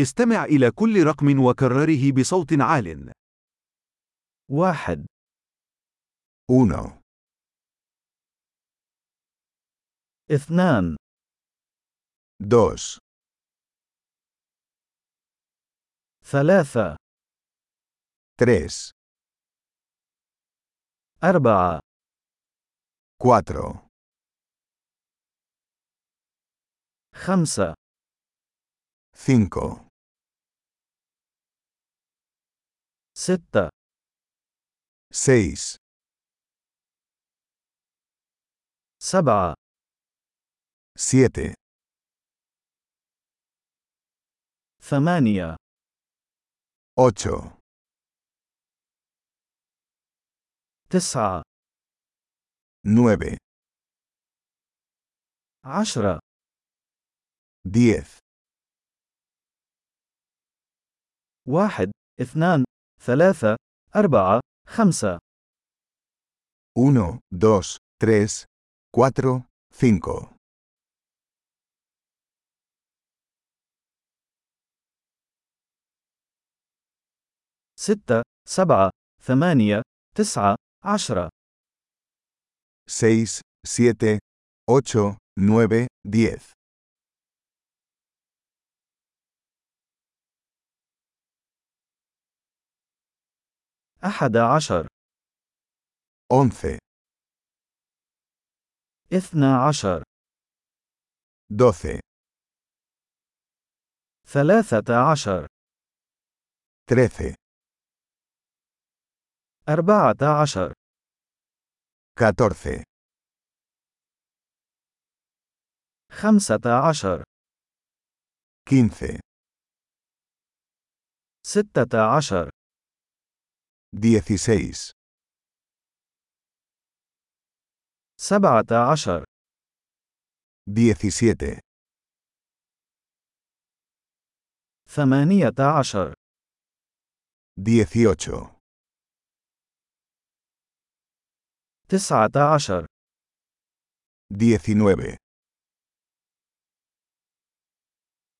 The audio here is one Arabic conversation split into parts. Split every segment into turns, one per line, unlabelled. استمع إلى كل رقم وكرره بصوت عال.
واحد
Uno,
اثنان
dos,
ثلاثة
tres,
أربعة
cuatro,
خمسة
cinco,
ستة
seis,
سبعة
siete,
ثمانية
ocho,
تسعة
nueve,
عشرة
diez,
واحد اثنان ثلاثة أربعة خمسة
uno, dos, tres, cuatro, cinco.
ستة سبعة ثمانية تسعة عشرة
Seis, siete, ocho, nueve, diez.
أحد عشر
Once,
اثنا عشر
doce,
ثلاثة عشر
trece,
أربعة عشر
catorce,
خمسة عشر
quince,
ستة عشر
dieciséis,
سبعة عشر
diecisiete,
ثمانية عشر
dieciocho.
تسعة عشر
19,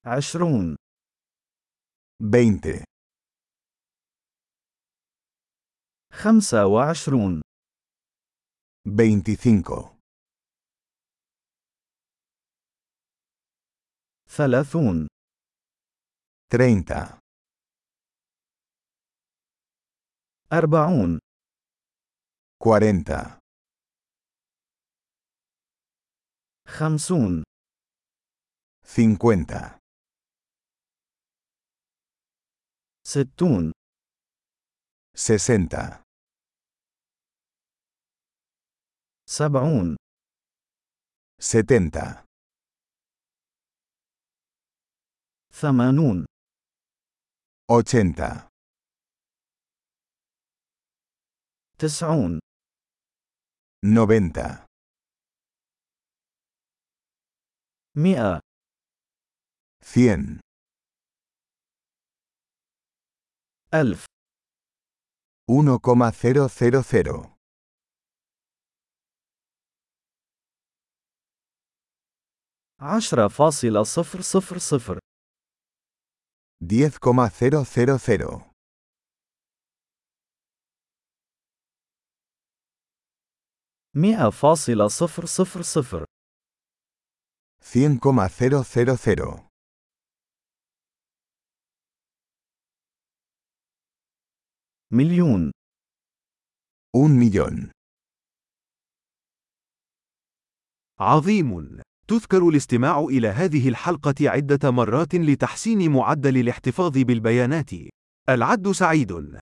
عشرون
20,
خمسة وعشرون
25,
ثلاثون
30,
أربعون
40,
خمسون
50,
ستون
60,
سبعون
70,
ثمانون
80,
تسعون
90,
مئة
100,
ألف
1,000,
عشرة فاصلة صفر صفر صفر
10,000,
مئة فاصلة صفر صفر صفر
100,000,
مليون
1 millón. عظيم! تذكر الاستماع إلى هذه الحلقة عدة مرات لتحسين معدل الاحتفاظ بالبيانات. العد سعيد!